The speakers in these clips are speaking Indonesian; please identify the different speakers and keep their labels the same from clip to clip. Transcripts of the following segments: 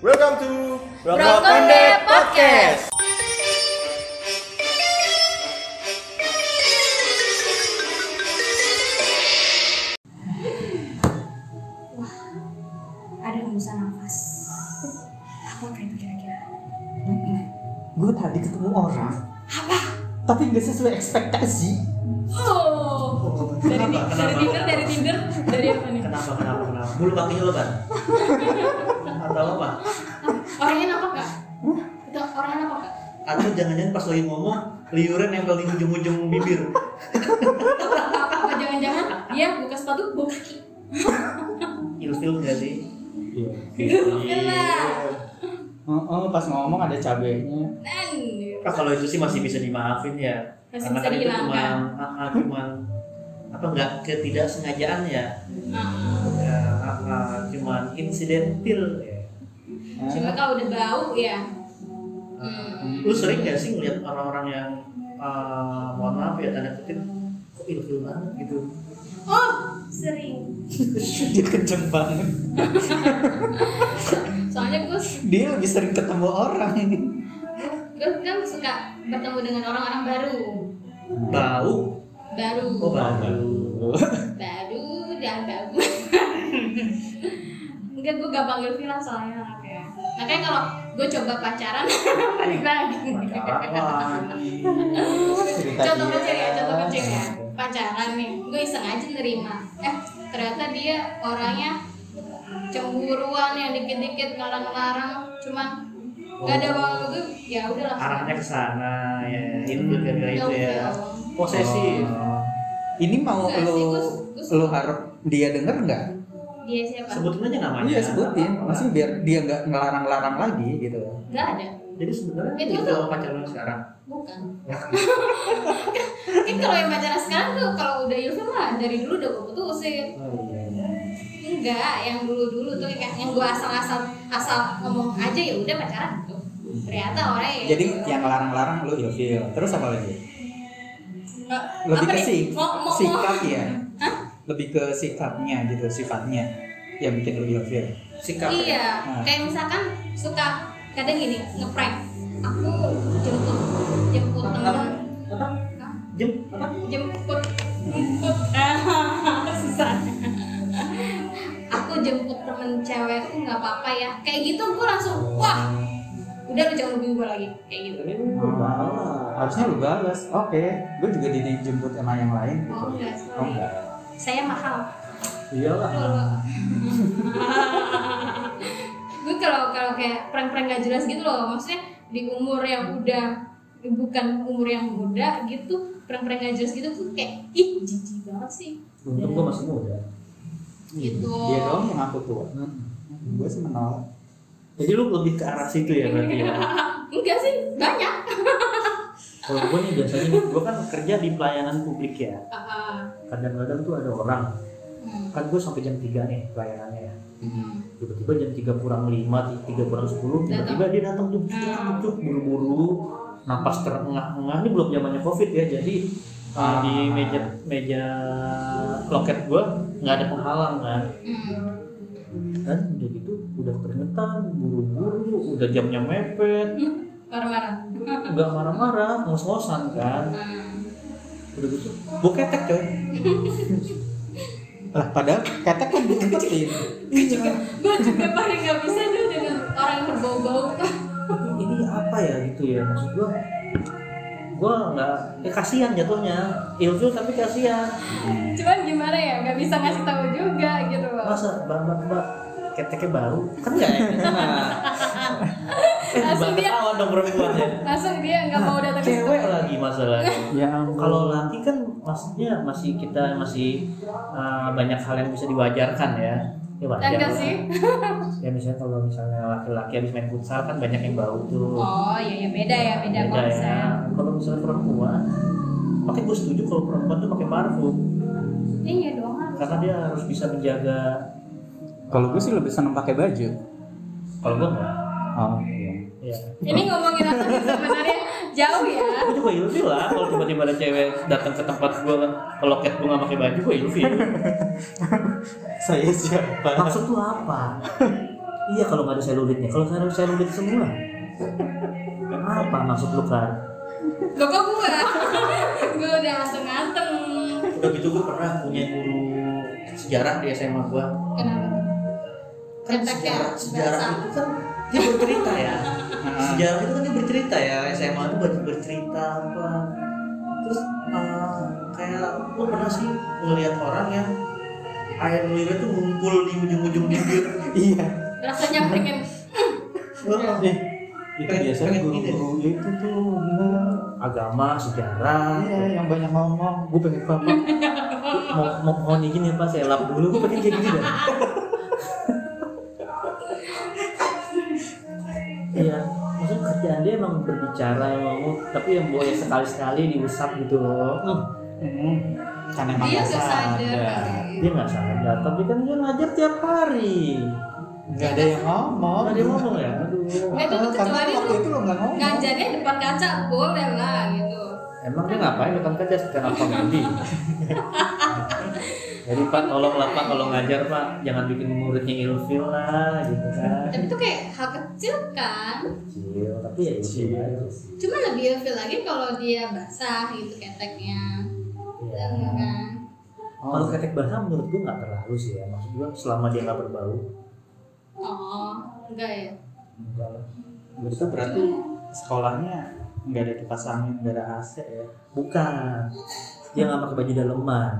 Speaker 1: Welcome to
Speaker 2: Brokonde Podcast.
Speaker 3: ada hembusan nafas. Apa itu kira-kira?
Speaker 4: Gue tadi ketemu orang,
Speaker 3: Apa?
Speaker 4: tapi nggak sesuai ekspektasi.
Speaker 3: Oh, dari Ti- dari Tinder, dari Tinder, dari apa nih?
Speaker 2: Kenapa, kenapa, kenapa? Bulu kakinya lebat? Atau apa?
Speaker 3: Orangnya nampak nggak? Itu orangnya nampak nggak?
Speaker 2: Atau jangan-jangan pas lagi ngomong, liurnya nempel di ujung-ujung bibir.
Speaker 3: Apa jangan-jangan dia buka sepatu bau kaki?
Speaker 2: Ilfil nggak sih?
Speaker 3: Kenapa?
Speaker 4: Heeh, pas ngomong ada cabenya.
Speaker 3: Nan.
Speaker 2: Nah, kalau itu sih masih bisa dimaafin ya.
Speaker 3: Masih
Speaker 2: Karena
Speaker 3: bisa
Speaker 2: kan itu cuma,
Speaker 3: dihilangkan.
Speaker 2: ah, ah, cuma apa nggak ketidaksengajaan ya?
Speaker 3: Ah,
Speaker 2: ya ah, ah, cuman insidentil. Ya.
Speaker 3: Cuma
Speaker 4: Eh,
Speaker 3: kalau udah bau ya.
Speaker 2: Hmm. Lu sering gak sih ngeliat orang-orang yang eh, mohon maaf ya tanda kutip kok ilfil banget gitu
Speaker 3: Oh, sering.
Speaker 4: Dia kenceng banget.
Speaker 3: Soalnya gue
Speaker 4: Dia lebih sering ketemu orang.
Speaker 3: gue kan suka bertemu dengan orang-orang baru,
Speaker 4: Nah.
Speaker 2: bau
Speaker 3: baru,
Speaker 2: kok bau
Speaker 3: baru dan baru. Enggak, gue gak panggil Vila soalnya anaknya. Makanya kalau gue coba pacaran, balik lagi.
Speaker 2: pacaran lagi
Speaker 4: Cerita
Speaker 3: contoh
Speaker 4: dia.
Speaker 3: kecil ya contoh kecil ya pacaran nih gue iseng aja nerima eh ternyata dia orangnya cemburuan yang dikit-dikit ngarang-ngarang cuman
Speaker 4: Oh.
Speaker 3: gak ada bawa gue ya udahlah
Speaker 2: arahnya ke sana ya itu gara-gara itu ya posesif
Speaker 4: Oh. Ini mau lu
Speaker 3: Nggak sih, gua- gua-
Speaker 4: lu harap dia denger nggak?
Speaker 3: dia siapa
Speaker 2: sebutin aja namanya
Speaker 4: Iya sebutin,
Speaker 2: Apa-apa.
Speaker 4: maksudnya biar dia nggak ngelarang-larang lagi gitu.
Speaker 3: gak ada
Speaker 2: jadi sebenarnya
Speaker 3: Itu
Speaker 2: itu
Speaker 3: tuh.
Speaker 2: sama pacaran lu sekarang
Speaker 3: bukan
Speaker 4: Ya.
Speaker 3: kan kalau yang pacaran sekarang tuh kalau udah ilfil lah dari dulu udah gue putusin
Speaker 2: Oh, iya,
Speaker 3: enggak yang dulu dulu tuh kayak yang gue asal-asal asal ngomong aja ya udah pacaran tuh ternyata gitu. orang yang
Speaker 4: Jadi ya, yang ngelarang-larang lu ilfil. Terus apa lagi? lebih ke sih sikap ya
Speaker 3: Hah?
Speaker 4: lebih ke sikapnya gitu sifatnya yang bikin lu ilfil
Speaker 2: sikap ya?
Speaker 3: iya
Speaker 4: Nah.
Speaker 3: kayak misalkan suka kadang gini ngeprank aku jemput jemput teman
Speaker 2: apa jem apa
Speaker 3: jemput jemput susah aku jemput temen cewekku nggak apa-apa ya kayak gitu aku langsung wah udah lu jangan lebih gue lagi kayak gitu
Speaker 4: harusnya lu balas oke gue juga dijemput sama yang lain gitu
Speaker 3: oh enggak
Speaker 4: oh
Speaker 3: sorry
Speaker 4: enggak
Speaker 3: saya mahal
Speaker 2: Iya
Speaker 4: iyalah
Speaker 3: gue kalau kalau kayak prank-prank gak jelas gitu loh maksudnya di umur yang udah bukan umur yang muda gitu prank-prank gak jelas gitu tuh kayak ih jijik banget sih
Speaker 2: untung gua masih muda
Speaker 3: Gitu.
Speaker 4: dia doang yang aku tua gue sih menolak
Speaker 2: jadi lu lebih ke arah situ ya berarti ya
Speaker 3: enggak sih banyak
Speaker 2: kalau gue nih biasanya gue kan kerja di pelayanan publik ya
Speaker 3: Ah,
Speaker 2: kadang-kadang tuh ada orang kan gue sampai jam 3 nih pelayanannya ya tiba-tiba jam 3 kurang 5, 3 kurang 10 tiba-tiba dia datang tuh cuk, cuk, cuk, buru-buru napas terengah-engah ini belum zamannya covid ya jadi uh, di meja meja loket gue nggak ada penghalang kan
Speaker 3: hmm.
Speaker 2: dan udah gitu udah keringetan buru-buru udah jamnya mepet
Speaker 3: marah-marah
Speaker 2: nggak marah-marah ngos-ngosan kan
Speaker 3: Hmm.
Speaker 2: udah gitu gue ketek coy
Speaker 4: lah padahal ketek kan diumpetin
Speaker 3: gue juga paling gak bisa tuh dengan orang yang berbau-bau
Speaker 2: ini apa ya gitu ya maksud gua gua nggak ya kasihan jatuhnya ilfil tapi kasihan
Speaker 3: cuman gimana ya gak bisa ngasih tahu juga gitu loh
Speaker 2: masa mbak mbak mbak keteknya baru kan nggak enak eh
Speaker 3: Langsung
Speaker 2: mbak
Speaker 3: dia-
Speaker 2: ketahuan dong perempuannya
Speaker 3: langsung dia nggak mau datang ke
Speaker 2: cewek lagi masalahnya
Speaker 4: ya
Speaker 2: kalau laki kan maksudnya masih kita masih uh, banyak hal yang bisa diwajarkan ya ya wajar
Speaker 3: Enggak
Speaker 2: lah.
Speaker 3: sih.
Speaker 2: ya misalnya kalau misalnya laki-laki habis main futsal kan banyak yang bau tuh
Speaker 3: Oh iya ya beda ya beda,
Speaker 2: Beda
Speaker 3: konsep.
Speaker 2: ya. Kalau misalnya perempuan, makanya gue setuju kalau perempuan tuh pakai parfum
Speaker 3: Iya dong harus.
Speaker 2: karena dia harus bisa menjaga.
Speaker 4: kalau gue sih lebih seneng pakai baju
Speaker 2: Kalau gue enggak.
Speaker 4: oh iya
Speaker 2: Iya.
Speaker 3: Ini ngomongin apa sih sebenarnya jauh ya.
Speaker 2: Gue juga ilfil lah kalau tiba-tiba ada cewek datang ke tempat gue kan ke loket gue nggak pakai baju gue ilfil.
Speaker 4: saya siapa
Speaker 2: Maksud lu apa? Iya kalau nggak ada selulitnya. Kalau saya ada selulit semua. Apa maksud lu kan?
Speaker 3: Loh kok gue? gue udah anteng-anteng.
Speaker 4: Udah gitu gue pernah punya guru sejarah di SMA gue.
Speaker 3: Kenapa?
Speaker 4: Kan
Speaker 3: Ceteknya
Speaker 4: sejarah, sejarah
Speaker 3: basah.
Speaker 4: itu kan dia bercerita ya. sejarah itu kan dia bercerita ya. SMA itu banyak bercerita apa. Terus eh, kayak lu pernah sih ngelihat orang yang air liurnya tuh ngumpul di ujung-ujung bibir.
Speaker 2: Iya.
Speaker 3: Rasanya pengen
Speaker 4: Wah,
Speaker 2: Eh, itu
Speaker 4: Pengen-
Speaker 2: biasanya
Speaker 4: pengen
Speaker 2: guru-guru itu tuh bener. agama, sejarah.
Speaker 1: Iya, yang banyak ngomong.
Speaker 2: Gue pengen papa. mau mau mau nih gini pak, saya lap dulu. Gue pengen kayak gini dah. Iya, maksudnya kerjaan dia emang berbicara, yang ngomong, tapi yang boleh sekali-sekali diusap gitu loh. Hmm.
Speaker 1: Hmm. Kan emang
Speaker 3: dia
Speaker 1: gak
Speaker 3: gak sadar
Speaker 1: sadar.
Speaker 3: kali.
Speaker 2: dia nggak sadar tapi kan dia ngajar tiap hari
Speaker 1: Gak ada yang ngomong.
Speaker 2: nggak dia ngomong ya aduh
Speaker 3: Eh, itu
Speaker 1: Ah, karena
Speaker 3: kecuali
Speaker 1: waktu
Speaker 3: lu-
Speaker 1: itu lo nggak ngomong.
Speaker 3: Ngajarnya depan kaca boleh lah gitu.
Speaker 2: emang dia ngapain depan kerja sekarang apa mandi jadi pak tolong lah pak kalau ngajar pak jangan bikin muridnya ilfil lah gitu kan
Speaker 3: Tapi itu kayak hal kecil kan.
Speaker 2: kecil tapi ya kecil
Speaker 1: Kecil.
Speaker 2: aja sih.
Speaker 3: Cuma lebih feel lagi kalau dia basah gitu keteknya.
Speaker 2: Iya.
Speaker 3: Bener kan?
Speaker 2: kalau ketek basah menurut gua nggak terlalu sih ya maksud gua selama dia nggak berbau
Speaker 3: Oh, enggak ya.
Speaker 2: enggak lah.
Speaker 1: Itu berarti sekolahnya nggak ada kipas angin, nggak ada AC ya.
Speaker 2: bukan dia nggak pakai baju daleman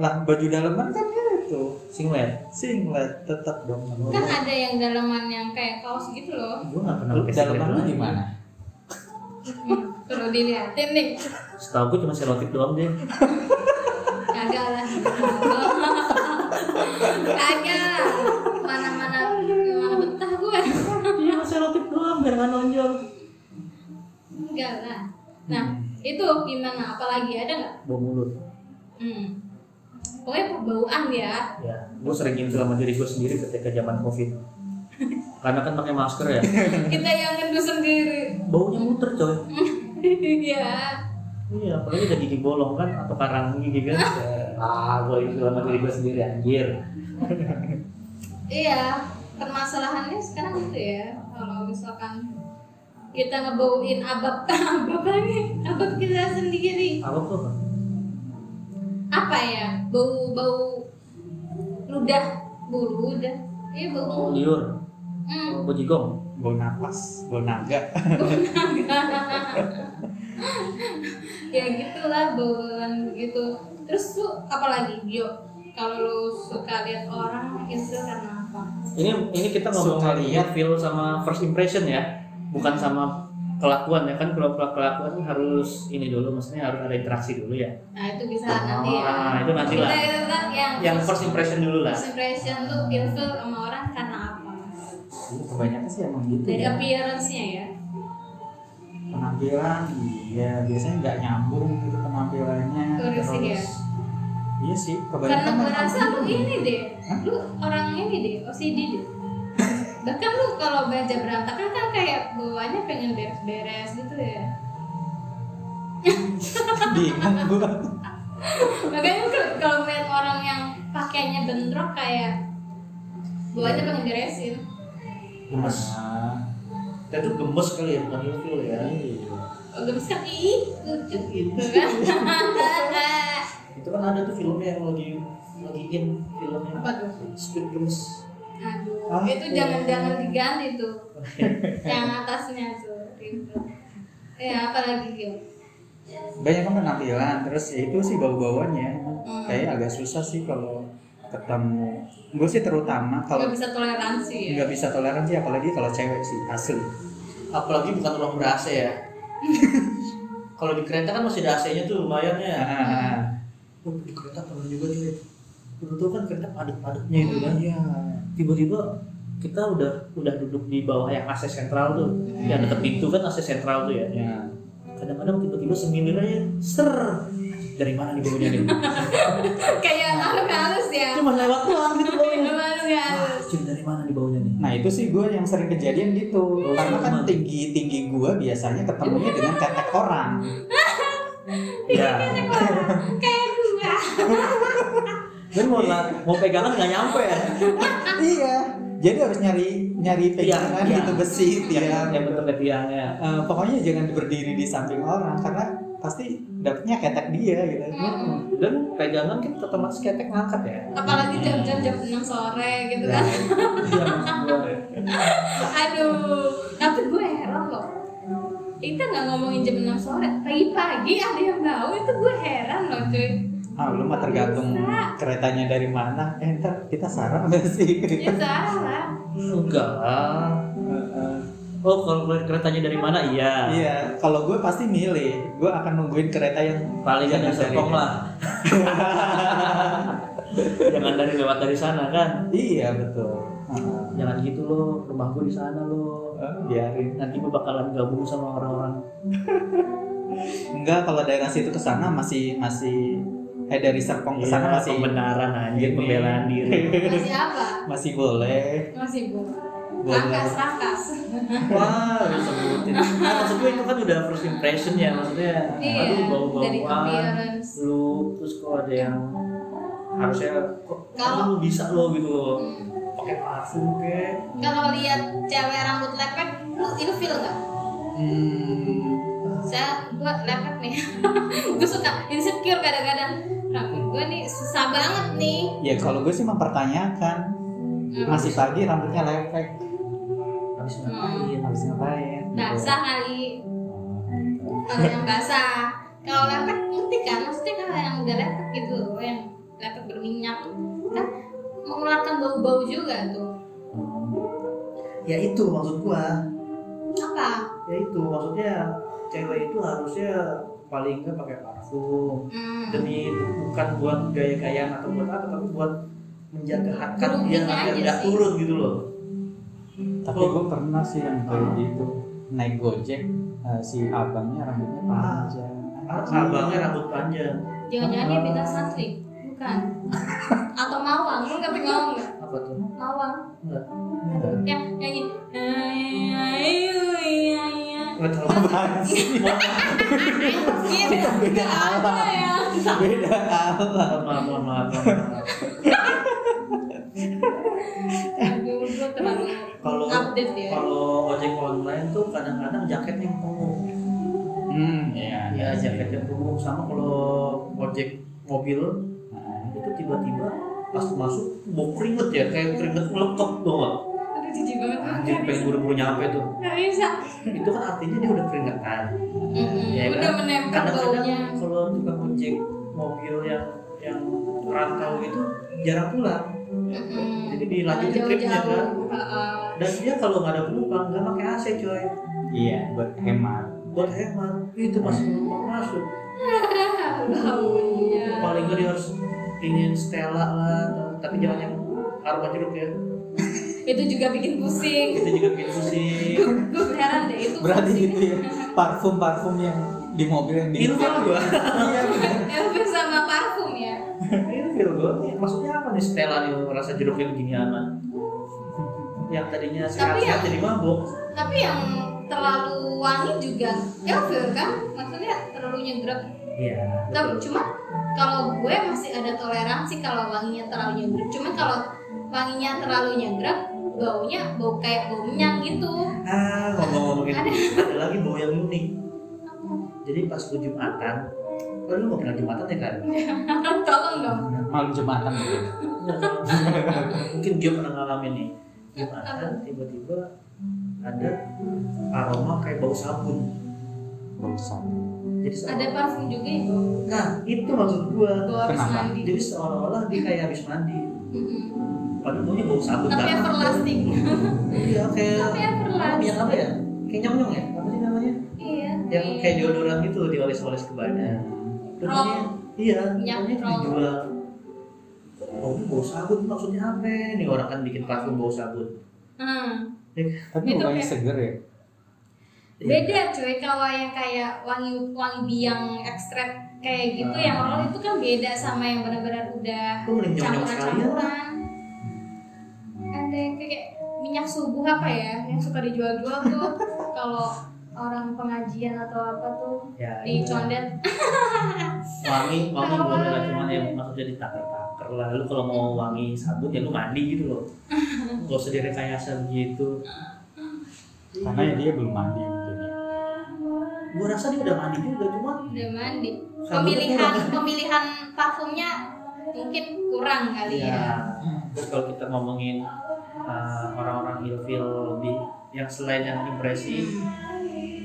Speaker 1: Lah baju daleman kan itu
Speaker 2: singlet
Speaker 1: singlet tetap dong.
Speaker 3: Kan ada yang dalaman yang kayak kaos gitu loh.
Speaker 2: gua nggak pernah
Speaker 1: Lu
Speaker 2: pakai singlet
Speaker 1: daleman lu
Speaker 2: lagi.
Speaker 1: gimana?
Speaker 3: Hmm, perlu dilihatin nih.
Speaker 2: setahu gua cuma selotip doang deh
Speaker 3: Kagak lah. Kagak. Mana-mana mana betah gue.
Speaker 2: Iya, selotip doang biar nggak nonjol.
Speaker 3: Enggak lah. Nah, itu gimana? Apalagi ada nggak?
Speaker 2: Bau mulut.
Speaker 3: Hmm. Pokoknya perbauan ya.
Speaker 2: Ya, gue sering gitu sama diri gue sendiri ketika zaman covid. Karena kan pakai masker ya,
Speaker 3: Kita yang ngendu sendiri.
Speaker 2: baunya muter coy.
Speaker 3: Iya.
Speaker 2: Iya, apalagi udah gigi bolong kan atau karang gigi kan. ah, gue itu sama diri gue sendiri anjir.
Speaker 3: Iya. Permasalahannya sekarang itu ya. Kalau misalkan kita ngebauin abab abab lagi abab kita sendiri
Speaker 2: Apa tuh? Bang?
Speaker 3: apa ya bau bau ludah bau ludah iya bau
Speaker 2: Bau liur,
Speaker 3: hmm.
Speaker 2: bau jigong.
Speaker 1: Bau napas, bau naga.
Speaker 3: ya gitulah bauan gitu terus lu apalagi Gio kalau lu suka lihat orang ilfil karena apa
Speaker 2: Ini ini kita
Speaker 1: Suka
Speaker 2: ngomongin
Speaker 1: lihat.
Speaker 2: feel sama first impression ya, bukan sama kelakuan ya kan kalau kalau kelakuan harus ini dulu maksudnya harus ada interaksi dulu ya
Speaker 3: nah itu bisa nanti ya
Speaker 2: Ah, itu nanti lah.
Speaker 3: Kita itu kan yang,
Speaker 2: yang first impression dulu lah
Speaker 3: first impression lu ilfil sama orang karena apa
Speaker 1: Iya, kebanyakan sih emang gitu.
Speaker 3: dari
Speaker 1: ya.
Speaker 3: appearance-nya ya
Speaker 1: Penampilan, iya biasanya nggak nyambung gitu penampilannya.
Speaker 3: Kurus sih dia.
Speaker 1: Iya sih,
Speaker 3: ya? karena
Speaker 1: kebanyakan
Speaker 3: gue
Speaker 1: gitu. orang-
Speaker 3: rasa lu ini deh
Speaker 1: Hah?
Speaker 3: lu orang ini deh OCD deh bahkan lu kalau baca berantakan kan kayak bawaannya pengen beres-beres gitu ya
Speaker 1: bingung gua.
Speaker 3: makanya ke- kalau melihat orang yang pakainya bentrok kayak
Speaker 1: Iya.
Speaker 3: buatnya pengen beresin
Speaker 2: Gemes.
Speaker 1: Nah,
Speaker 4: Kita tuh gemes kali ya, bukan ilfil ya.
Speaker 1: iya.
Speaker 3: oh, gemes kan ih lucu gitu kan
Speaker 4: Itu kan ada tuh filmnya yang lagi lagi in filmnya.
Speaker 3: apa tuh
Speaker 4: Speed gemes.
Speaker 3: aduh
Speaker 1: Ah,
Speaker 3: itu
Speaker 1: iya.
Speaker 3: jangan-jangan diganti tuh yang atasnya tuh gitu ya apalagi gitu
Speaker 1: banyak kan penampilan terus ya itu sih bau bauannya
Speaker 3: Hmm.
Speaker 1: kayak agak susah sih kalau ketemu gue sih terutama
Speaker 3: nggak
Speaker 1: kalau
Speaker 3: bisa toleransi ya
Speaker 1: nggak bisa toleransi apalagi kalau cewek sih asli
Speaker 4: Apalagi bukan orang ber-AC ya. Kalau di kereta kan masih ada AC-nya tuh lumayan ya.
Speaker 3: Hmm.
Speaker 1: Ah,
Speaker 4: Oh, di kereta pernah juga cuy. Dulu tuh kan kereta padat-padatnya
Speaker 1: iya
Speaker 4: itu kan.
Speaker 1: iya
Speaker 2: tiba-tiba kita udah udah duduk di bawah yang AC sentral tuh yang deket pintu kan AC sentral tuh ya
Speaker 1: ya
Speaker 2: kadang-kadang tiba-tiba semilir aja ser dari mana nih baunya nih
Speaker 3: kayak makhluk halus ya
Speaker 2: cuma lewat doang gitu baunya
Speaker 3: makhluk halus
Speaker 2: Wah, cium dari mana nih baunya nih
Speaker 1: nah itu sih gue yang sering kejadian gitu
Speaker 2: Oh,
Speaker 1: karena kan
Speaker 2: cuman.
Speaker 1: tinggi tinggi gue biasanya ketemunya dengan tetek orang
Speaker 3: Iya.
Speaker 2: ya
Speaker 3: kayak gua
Speaker 2: dan mau la- mau pegangan nggak nyampe
Speaker 1: iya Jadi harus nyari nyari pegangan
Speaker 2: Tiang,
Speaker 1: gitu
Speaker 2: tiang.
Speaker 1: besi
Speaker 5: Iya,
Speaker 1: tiang.
Speaker 5: yang bentuknya tiangnya
Speaker 1: Eh, pokoknya jangan berdiri di samping orang karena pasti dapetnya ketek dia gitu.
Speaker 5: Mm-mm. dan pegangan kan Hmm. otomatis ketek ngangkat ya
Speaker 3: apalagi jam-jam jam 6 sore gitu kan
Speaker 1: Ya.
Speaker 5: iya maksud gua
Speaker 3: aduh tapi gue heran loh kita nggak ngomongin jam 6 sore pagi-pagi ada yang bau itu gue heran loh cuy
Speaker 1: Ah, lu mah tergantung
Speaker 3: Bisa.
Speaker 1: keretanya dari mana. Eh, ntar kita sarang gak sih?
Speaker 3: ya salah
Speaker 5: enggak
Speaker 1: Heeh.
Speaker 5: oh kalau keluar keretanya dari mana iya
Speaker 1: Iya, kalau gue pasti milih. Gue akan nungguin kereta yang
Speaker 5: paling
Speaker 1: Jangan
Speaker 5: dari
Speaker 1: dari-
Speaker 5: Serpong lah jangan dari lewat dari sana kan
Speaker 1: Iya betul. Heeh.
Speaker 5: jangan gitu loh rumah gua di sana loh
Speaker 1: Eh, Biarin.
Speaker 5: nanti gua bakalan gabung sama orang-orang
Speaker 1: Enggak, kalau daerah situ ke sana masih masih eh dari Serpong ke sana
Speaker 5: Iya,
Speaker 1: masih
Speaker 5: pembenaran anjing
Speaker 1: Ini.
Speaker 5: pembelaan diri
Speaker 3: masih apa
Speaker 1: masih boleh.
Speaker 3: masih bu
Speaker 1: Boleh.
Speaker 3: rakas rakas
Speaker 2: Wah,
Speaker 5: Harus sebutin. Nah, maksud gue itu kan udah first impression ya maksudnya
Speaker 3: Iya,
Speaker 5: aduh
Speaker 3: dari
Speaker 5: bau-bauan
Speaker 3: appearance.
Speaker 5: lu terus kok ada yang harusnya kok lu
Speaker 3: Kalau-
Speaker 5: bisa lo gitu loh
Speaker 3: Hmm.
Speaker 5: pakai parfum kayak
Speaker 3: kalau lihat cewek rambut lepek lu ilfil nggak
Speaker 1: Hmm,
Speaker 3: saya gua lepek nih gue suka insecure kadang-kadang rambut gue nih susah banget nih
Speaker 1: ya kalau gue sih mempertanyakan
Speaker 3: Hmm.
Speaker 1: masih pagi rambutnya lepek
Speaker 5: habis ngapain
Speaker 1: habis ngapain?
Speaker 2: Gitu.
Speaker 3: basah kali
Speaker 2: Nah,
Speaker 3: kalau yang basah kalau lepek ngerti kan maksudnya kalau yang udah lepek gitu yang lepek berminyak kan mengeluarkan bau-bau juga tuh
Speaker 2: ya itu maksud gua.
Speaker 3: apa
Speaker 2: Ya itu maksudnya cewek itu harusnya paling nggak pakai parfum
Speaker 3: hmm.
Speaker 2: demi bukan buat gaya-gayaan atau buat apa tapi buat menjaga harkat
Speaker 3: Kerudungnya
Speaker 2: dia agar
Speaker 3: aja
Speaker 2: tidak
Speaker 3: sih.
Speaker 2: turun gitu loh.
Speaker 1: Tapi
Speaker 2: Oh.
Speaker 1: gue pernah sih yang kayak gitu naik gojek eh, si abangnya rambutnya panjang.
Speaker 2: Ar- Ah,
Speaker 3: Hmm.
Speaker 2: Abangnya rambut panjang.
Speaker 3: jangan-jangan dia bintang santri bukan atau mawang lu nggak pengen nggak
Speaker 2: Apa tuh?
Speaker 3: mawang
Speaker 2: Enggak.
Speaker 1: Iya.
Speaker 3: yang nyanyi ayo iya iya
Speaker 2: Enggak terlalu
Speaker 1: Apaan sih?
Speaker 3: Gitu.
Speaker 1: Beda
Speaker 3: Gak ada ya.
Speaker 1: Beda apa?
Speaker 2: maaf maaf maaf. maaf, maaf.
Speaker 3: Aduh, gua terlalu
Speaker 2: Kalau
Speaker 3: update ya.
Speaker 2: kalau ojek online tuh kadang-kadang jaketnya yang punggung.
Speaker 1: Hmm, iya.
Speaker 2: Ya jaket yang punggung sama kalau ojek mobil
Speaker 1: Nah,
Speaker 2: itu tiba-tiba pas masuk bau keringet ya kayak keringet melekat tuh nggak?
Speaker 3: Aduh, jijik banget. gua.
Speaker 2: Anjir pengen buru-buru nyampe tuh.
Speaker 3: Gak bisa.
Speaker 2: Itu kan artinya dia udah keringetan.
Speaker 3: Mm-mm.
Speaker 2: Ya kan?
Speaker 3: Udah menempel baunya.
Speaker 2: Kadang-kadang kalau tukang ojek mobil yang yang rantau itu jarang pulang.
Speaker 3: Mm-mm.
Speaker 2: Jadi dilanjutin
Speaker 3: Jauh-jauh.
Speaker 2: tripnya kan.
Speaker 3: Heeh.
Speaker 2: Dan dia kalau nggak ada penumpang nggak pakai AC coy.
Speaker 1: Iya, buat hemat.
Speaker 2: buat hemat itu masih
Speaker 3: Mm.
Speaker 2: belum masuk
Speaker 3: Ah, Baunya.
Speaker 2: paling nggak dia harus ingin Stella lah atau- tapi jangan yang aroma jeruk ya
Speaker 3: Itu juga bikin pusing.
Speaker 2: itu juga gitu bikin pusing
Speaker 3: Gue heran deh itu.
Speaker 1: Berarti
Speaker 3: pusing.
Speaker 1: gitu ya. Parfum-parfum yang di mobil yang di
Speaker 2: ilfil kan gua
Speaker 1: Iya, bener.
Speaker 3: Elvis sama parfum ya.
Speaker 2: ilfil gua maksudnya apa nih Stella nih rasa jeruknya begini amat yang tadinya sehat-sehat
Speaker 3: yang-
Speaker 2: jadi mabuk
Speaker 3: Tapi yang terlalu wangi juga Elvis kan? Maksudnya terlalu nyegrek
Speaker 2: iya
Speaker 3: Tapi ya. cuma kalau gue masih ada toleransi kalau wanginya terlalu nyegrek. Cuman kalau wanginya terlalu nyegrek, baunya bau kayak bau minyak gitu.
Speaker 2: ah ngomong-ngomong gitu ada lagi bau yang unik jadi pas gua jumatan kan lu mau kenal jumatan ya kan
Speaker 3: Iya. Tolong dong.
Speaker 1: malam jumatan gitu.
Speaker 2: mungkin dia pernah ngalamin nih jumatan tiba-tiba ada aroma kayak bau sabun
Speaker 1: Bosan.
Speaker 3: Ada
Speaker 2: jadi seolah-
Speaker 3: parfum juga ya, bau
Speaker 2: nah itu maksud gua
Speaker 3: bau habis
Speaker 1: Kenapa?
Speaker 3: mandi.
Speaker 2: jadi seolah-olah dia kayak habis mandi
Speaker 3: Mm-mm.
Speaker 2: padahal baunya bau sabun
Speaker 3: Tapi
Speaker 2: banget.
Speaker 3: everlasting.
Speaker 2: iya kayak
Speaker 3: Tapi everlasting.
Speaker 2: yang apa ya kayak nyong nyong ya apa sih namanya
Speaker 3: Iya.
Speaker 2: yang
Speaker 3: iya.
Speaker 2: kayak deodoran gitu dioles-oles ke badan Terus
Speaker 3: Roll.
Speaker 2: dia- iya
Speaker 3: Minyak
Speaker 2: pokoknya
Speaker 3: roll.
Speaker 2: dijual Oh, ini bau sabun maksudnya apa? Nih orang kan bikin parfum bau sabun.
Speaker 3: Hmm.
Speaker 1: Tapi
Speaker 3: Itu
Speaker 1: bukannya
Speaker 3: kayak-
Speaker 1: seger ya?
Speaker 2: Iya.
Speaker 3: Beda cuy kalau yang kayak wangi wangi biang ekstrak kayak gitu
Speaker 2: Nah.
Speaker 3: yang roll itu kan beda sama yang benar-benar udah
Speaker 2: Itu mending nyong-nyong sekalian lah.
Speaker 3: campuran-campuran ada yang kayak minyak subuh apa ya yang suka dijual-jual tuh kalau orang pengajian atau apa tuh
Speaker 2: ya
Speaker 3: di condet
Speaker 2: wangi wangi
Speaker 3: Kalau
Speaker 2: boleh lah
Speaker 3: wangi.
Speaker 2: cuman yang maksudnya ditaker taker lah lu kalau mau wangi sabun ya lu mandi gitu loh gak usah direkayasa begitu
Speaker 1: karena ya dia belum mandi mungkin ya.
Speaker 2: gue rasa dia udah mandi juga cuman
Speaker 3: udah mandi
Speaker 2: Sabun
Speaker 3: pemilihan
Speaker 2: kurang.
Speaker 3: pemilihan parfumnya mungkin kurang kali ya
Speaker 2: ya terus kalau kita ngomongin uh, orang-orang ilfil lebih yang selain yang impresi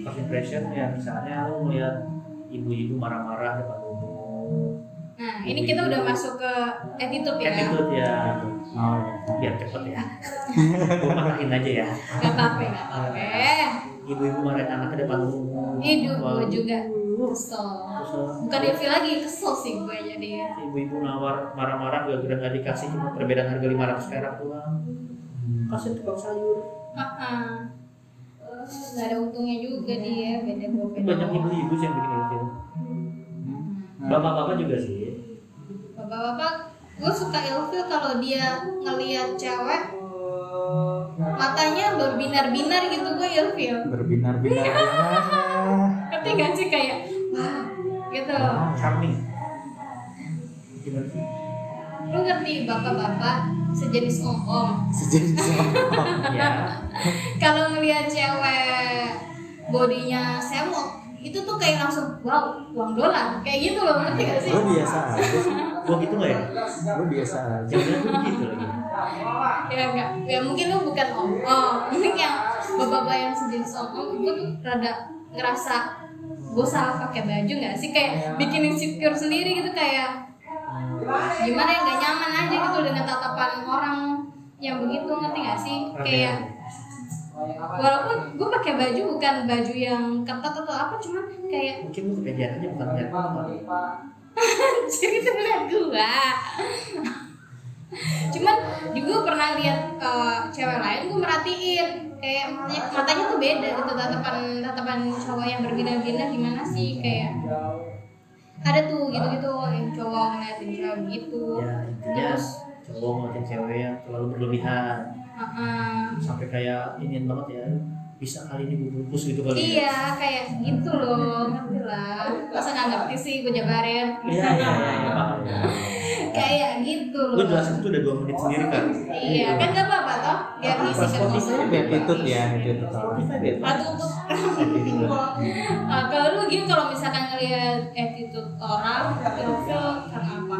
Speaker 2: first impression ya misalnya lu melihat ibu-ibu marah-marah depan umum
Speaker 3: nah ini kita udah masuk ke attitude ya
Speaker 2: attitude ya
Speaker 1: oh iya
Speaker 2: biar cepet ya gue marahin aja ya
Speaker 3: nggak apa-apa nggak apa-apa
Speaker 2: ibu-ibu marahin anaknya depan umum
Speaker 3: hidup
Speaker 2: Wah,
Speaker 3: gue Iya, juga kesel
Speaker 2: terus, eh,
Speaker 3: bukan ilfil lagi kesel sih gue jadi
Speaker 2: ibu-ibu nawar marah-marah gara-gara nggak dikasih cuma perbedaan harga 500 perak doang kasih tukang sayur
Speaker 3: Ah-ah. nggak ada untungnya juga dia beda gue
Speaker 2: Ini
Speaker 3: beda
Speaker 2: banyak ibu-ibu sih yang bikin ilfil bapak-bapak juga sih
Speaker 3: bapak-bapak gue suka ilfil kalau dia ngelihat cewek matanya berbinar-binar gitu gue ilfil
Speaker 1: berbinar-binar
Speaker 3: ngerti gak sih kayak wah gitu
Speaker 2: charming gimana sih
Speaker 3: lu ngerti bapak-bapak sejenis om-om
Speaker 1: sejenis apa?
Speaker 2: ya
Speaker 3: kalau ngelihat cewek bodinya semok itu tuh kayak langsung wow uang dolar kayak gitu loh ngerti gak sih
Speaker 1: Lu biasa aja sih.
Speaker 2: gua gitu nggak ya
Speaker 1: Lu biasa aja
Speaker 2: jangan gua gitu lagi
Speaker 3: ya enggak ya mungkin lu bukan om-om mungkin yang bapak-bapak yang sejenis om-om itu tuh rada ngerasa gue salah pakai baju nggak sih kayak bikin insecure sendiri gitu kayak
Speaker 2: Eh,
Speaker 3: gimana ya nggak nyaman aja gitu dengan tatapan orang yang begitu ngerti nggak sih kayak walaupun gue pakai baju bukan baju yang ketat atau apa cuman kayak
Speaker 2: mungkin lu kerjaan aja bukan ngeliat orang.
Speaker 3: jadi itu ngeliat gua cuman di gua pernah lihat eh, cewek lain gua merhatiin kayak matanya, matanya tuh beda gitu tatapan tatapan cowok yang berbeda-beda gimana sih kayak ada tuh gitu-gitu yang cowok ngeliatin cewek gitu
Speaker 2: ya intinya cowok ngeliatin cewek yang terlalu berlebihan
Speaker 3: Heeh.
Speaker 2: sampai kayak ini banget ya bisa kali ini gue bungkus gitu kali ya.
Speaker 3: iya kayak gitu loh ngerti lah masa nggak ngerti sih gua jabarin
Speaker 2: Iya, iya, iya, iya, paham ya.
Speaker 3: kayak gitu loh
Speaker 2: Gue jelasin tuh udah 2 menit sendiri kan.
Speaker 3: Iya, kan gak apa-apa toh, biar
Speaker 2: Apa-apa,
Speaker 3: ngisi ke
Speaker 2: Spotify
Speaker 3: kosong.
Speaker 1: Tapi attitude ya attitude orang
Speaker 2: Spotify deh.
Speaker 3: Atau untuk Nah, kalau lu gini kalau misalkan ngelihat attitude orang, ilfil karena apa?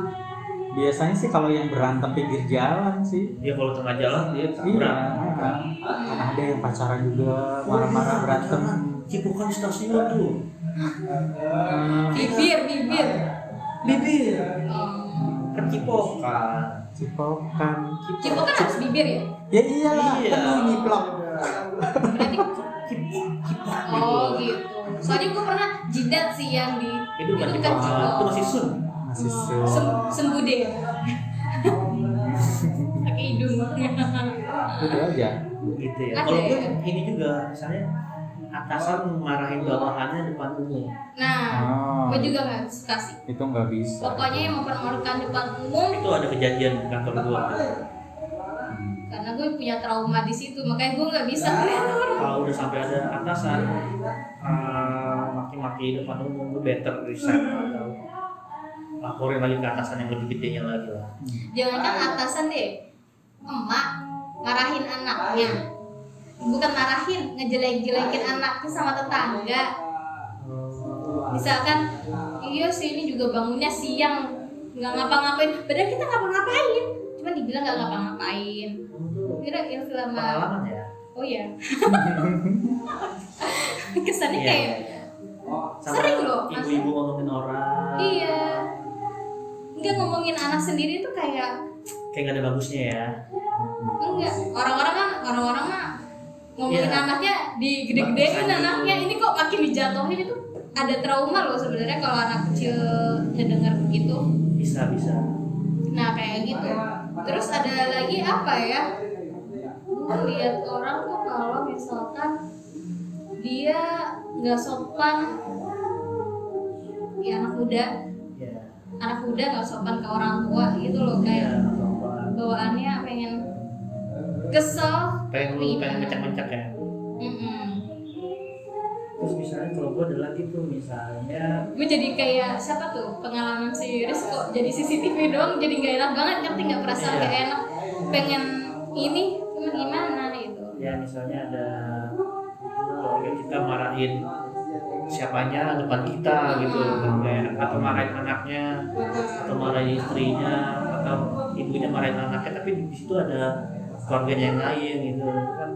Speaker 1: biasanya sih kalau yang berantem pinggir jalan sih
Speaker 2: Dia kalau tengah jalan dia
Speaker 1: iya
Speaker 2: tabrak.
Speaker 1: karena ada yang pacaran juga marah-marah berantem
Speaker 2: Cipukan stasiun tuh.
Speaker 3: Bibir, bibir.
Speaker 2: Bibir.
Speaker 3: Oh.
Speaker 2: Kan cipokan.
Speaker 1: cipokan
Speaker 3: Cipu kan harus bibir ya?
Speaker 1: ya iyalah
Speaker 2: Iya.
Speaker 1: kan lu nyiplak
Speaker 3: Berarti
Speaker 2: Cipokan.
Speaker 3: oh gitu. Soalnya gue pernah jidat sih yang di
Speaker 2: Itu bukan
Speaker 3: itu kan
Speaker 2: cipokan. Itu masih sun.
Speaker 1: masih
Speaker 3: Oh,
Speaker 1: su
Speaker 3: sem sembude. Pakai hidung.
Speaker 1: itu aja
Speaker 2: Gitu ya.
Speaker 3: Ada
Speaker 2: Kalau gue
Speaker 3: ya?
Speaker 2: ini juga misalnya atasan marahin bawahannya depan umum.
Speaker 3: Nah,
Speaker 1: oh
Speaker 3: gue juga gak suka sih.
Speaker 1: itu nggak bisa
Speaker 3: Pokoknya yang mempermalukan depan umum
Speaker 2: Itu ada kejadian di kantor gue.
Speaker 3: karena gue punya trauma di situ makanya gue nggak bisa ngeliat orang
Speaker 2: kalau udah sampai ada atasan eh, maki-maki depan umum lu better resign atau laporin lagi ke atasan yang lebih gedenya lagi lah
Speaker 3: jangankan kan atasan deh emak marahin anaknya bukan marahin ngejelek-jelekin anaknya sama tetangga misalkan iya sih ini juga bangunnya siang nggak ngapa-ngapain padahal kita ngapa-ngapain cuman dibilang nggak ngapa-ngapain kira ilfil sama
Speaker 2: pengalaman ya
Speaker 3: oh ya kesannya
Speaker 2: Iya,
Speaker 3: kayak
Speaker 2: iya, iya. Sama
Speaker 3: sering loh,
Speaker 2: ibu-ibu ngomongin orang
Speaker 3: iya nggak ngomongin anak sendiri tuh kayak
Speaker 2: kayak gak ada bagusnya ya
Speaker 3: enggak orang-orang kan orang-orang mah ngomongin
Speaker 2: Iya.
Speaker 3: anaknya digede-gedein
Speaker 2: Makanya.
Speaker 3: anaknya ini kok makin dijatuhin itu ada trauma loh sebenarnya kalau anak kecil ngedenger begitu
Speaker 2: bisa bisa
Speaker 3: nah kayak gitu terus ada lagi apa ya Gua lihat orang tuh kalau misalkan dia nggak sopan ya anak muda
Speaker 2: ya
Speaker 3: anak muda nggak sopan ke orang tua gitu loh
Speaker 2: ya
Speaker 3: kayak
Speaker 2: atau apa.
Speaker 3: bawaannya pengen kesel Iya.
Speaker 2: pengen lu pengen mencak-mencak ya
Speaker 3: Mm-mm.
Speaker 2: terus
Speaker 6: ada lagi
Speaker 2: gitu,
Speaker 6: tuh misalnya
Speaker 3: gue jadi kayak siapa tuh pengalaman si Rizko jadi CCTV doang jadi nggak enak banget ngerti nggak perasaan
Speaker 6: Iya.
Speaker 3: nggak enak pengen ini cuman gimana gitu
Speaker 6: ya misalnya ada
Speaker 2: keluarga kita marahin siapanya depan kita gitu nggak enak atau marahin anaknya atau marahin istrinya atau ibunya marahin anaknya tapi di situ ada keluarganya yang lain gitu kan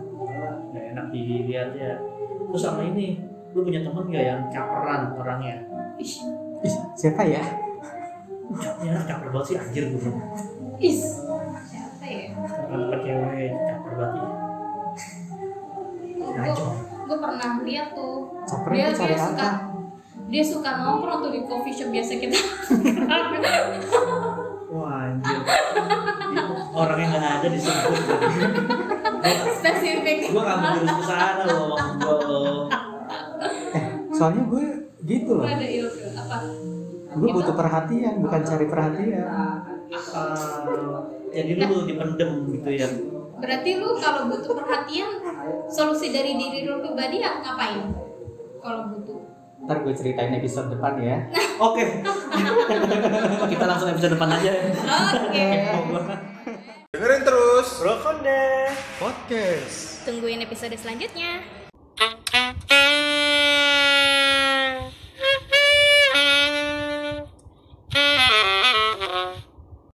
Speaker 2: nggak enak dilihat ya terus sama ini lu punya temen nggak yang caperan orangnya
Speaker 3: Ih,
Speaker 1: Ih, siapa ya?
Speaker 2: ya caper banget sih anjir gue bukan
Speaker 3: is siapa ya
Speaker 2: bukan cewek caper banget ya.
Speaker 3: gue gue pernah lihat tuh
Speaker 1: Caper
Speaker 3: dia
Speaker 1: itu cari
Speaker 3: dia suka
Speaker 1: apa?
Speaker 3: dia suka nongkrong tuh di coffee shop biasa kita
Speaker 4: Wah, anjir.
Speaker 2: orang yang nggak ada disebut
Speaker 3: spesifik
Speaker 4: Gua nggak jurus ke sana loh, maksud gua loh.
Speaker 1: Eh, Soalnya gue gitu
Speaker 3: gue
Speaker 1: loh.
Speaker 3: ada ilfil apa
Speaker 1: Gue
Speaker 3: Gitu.
Speaker 1: butuh perhatian, bukan cari perhatian.
Speaker 4: Ah, jadi lu dipendem gitu ya.
Speaker 3: berarti lu kalau butuh perhatian solusi dari diri lu pribadi ya ngapain kalau butuh
Speaker 1: Ntar gue ceritain episode depan ya.
Speaker 4: Oke. Kita langsung episode depan aja. ya.
Speaker 3: oke
Speaker 7: Podcast.
Speaker 3: tungguin episode selanjutnya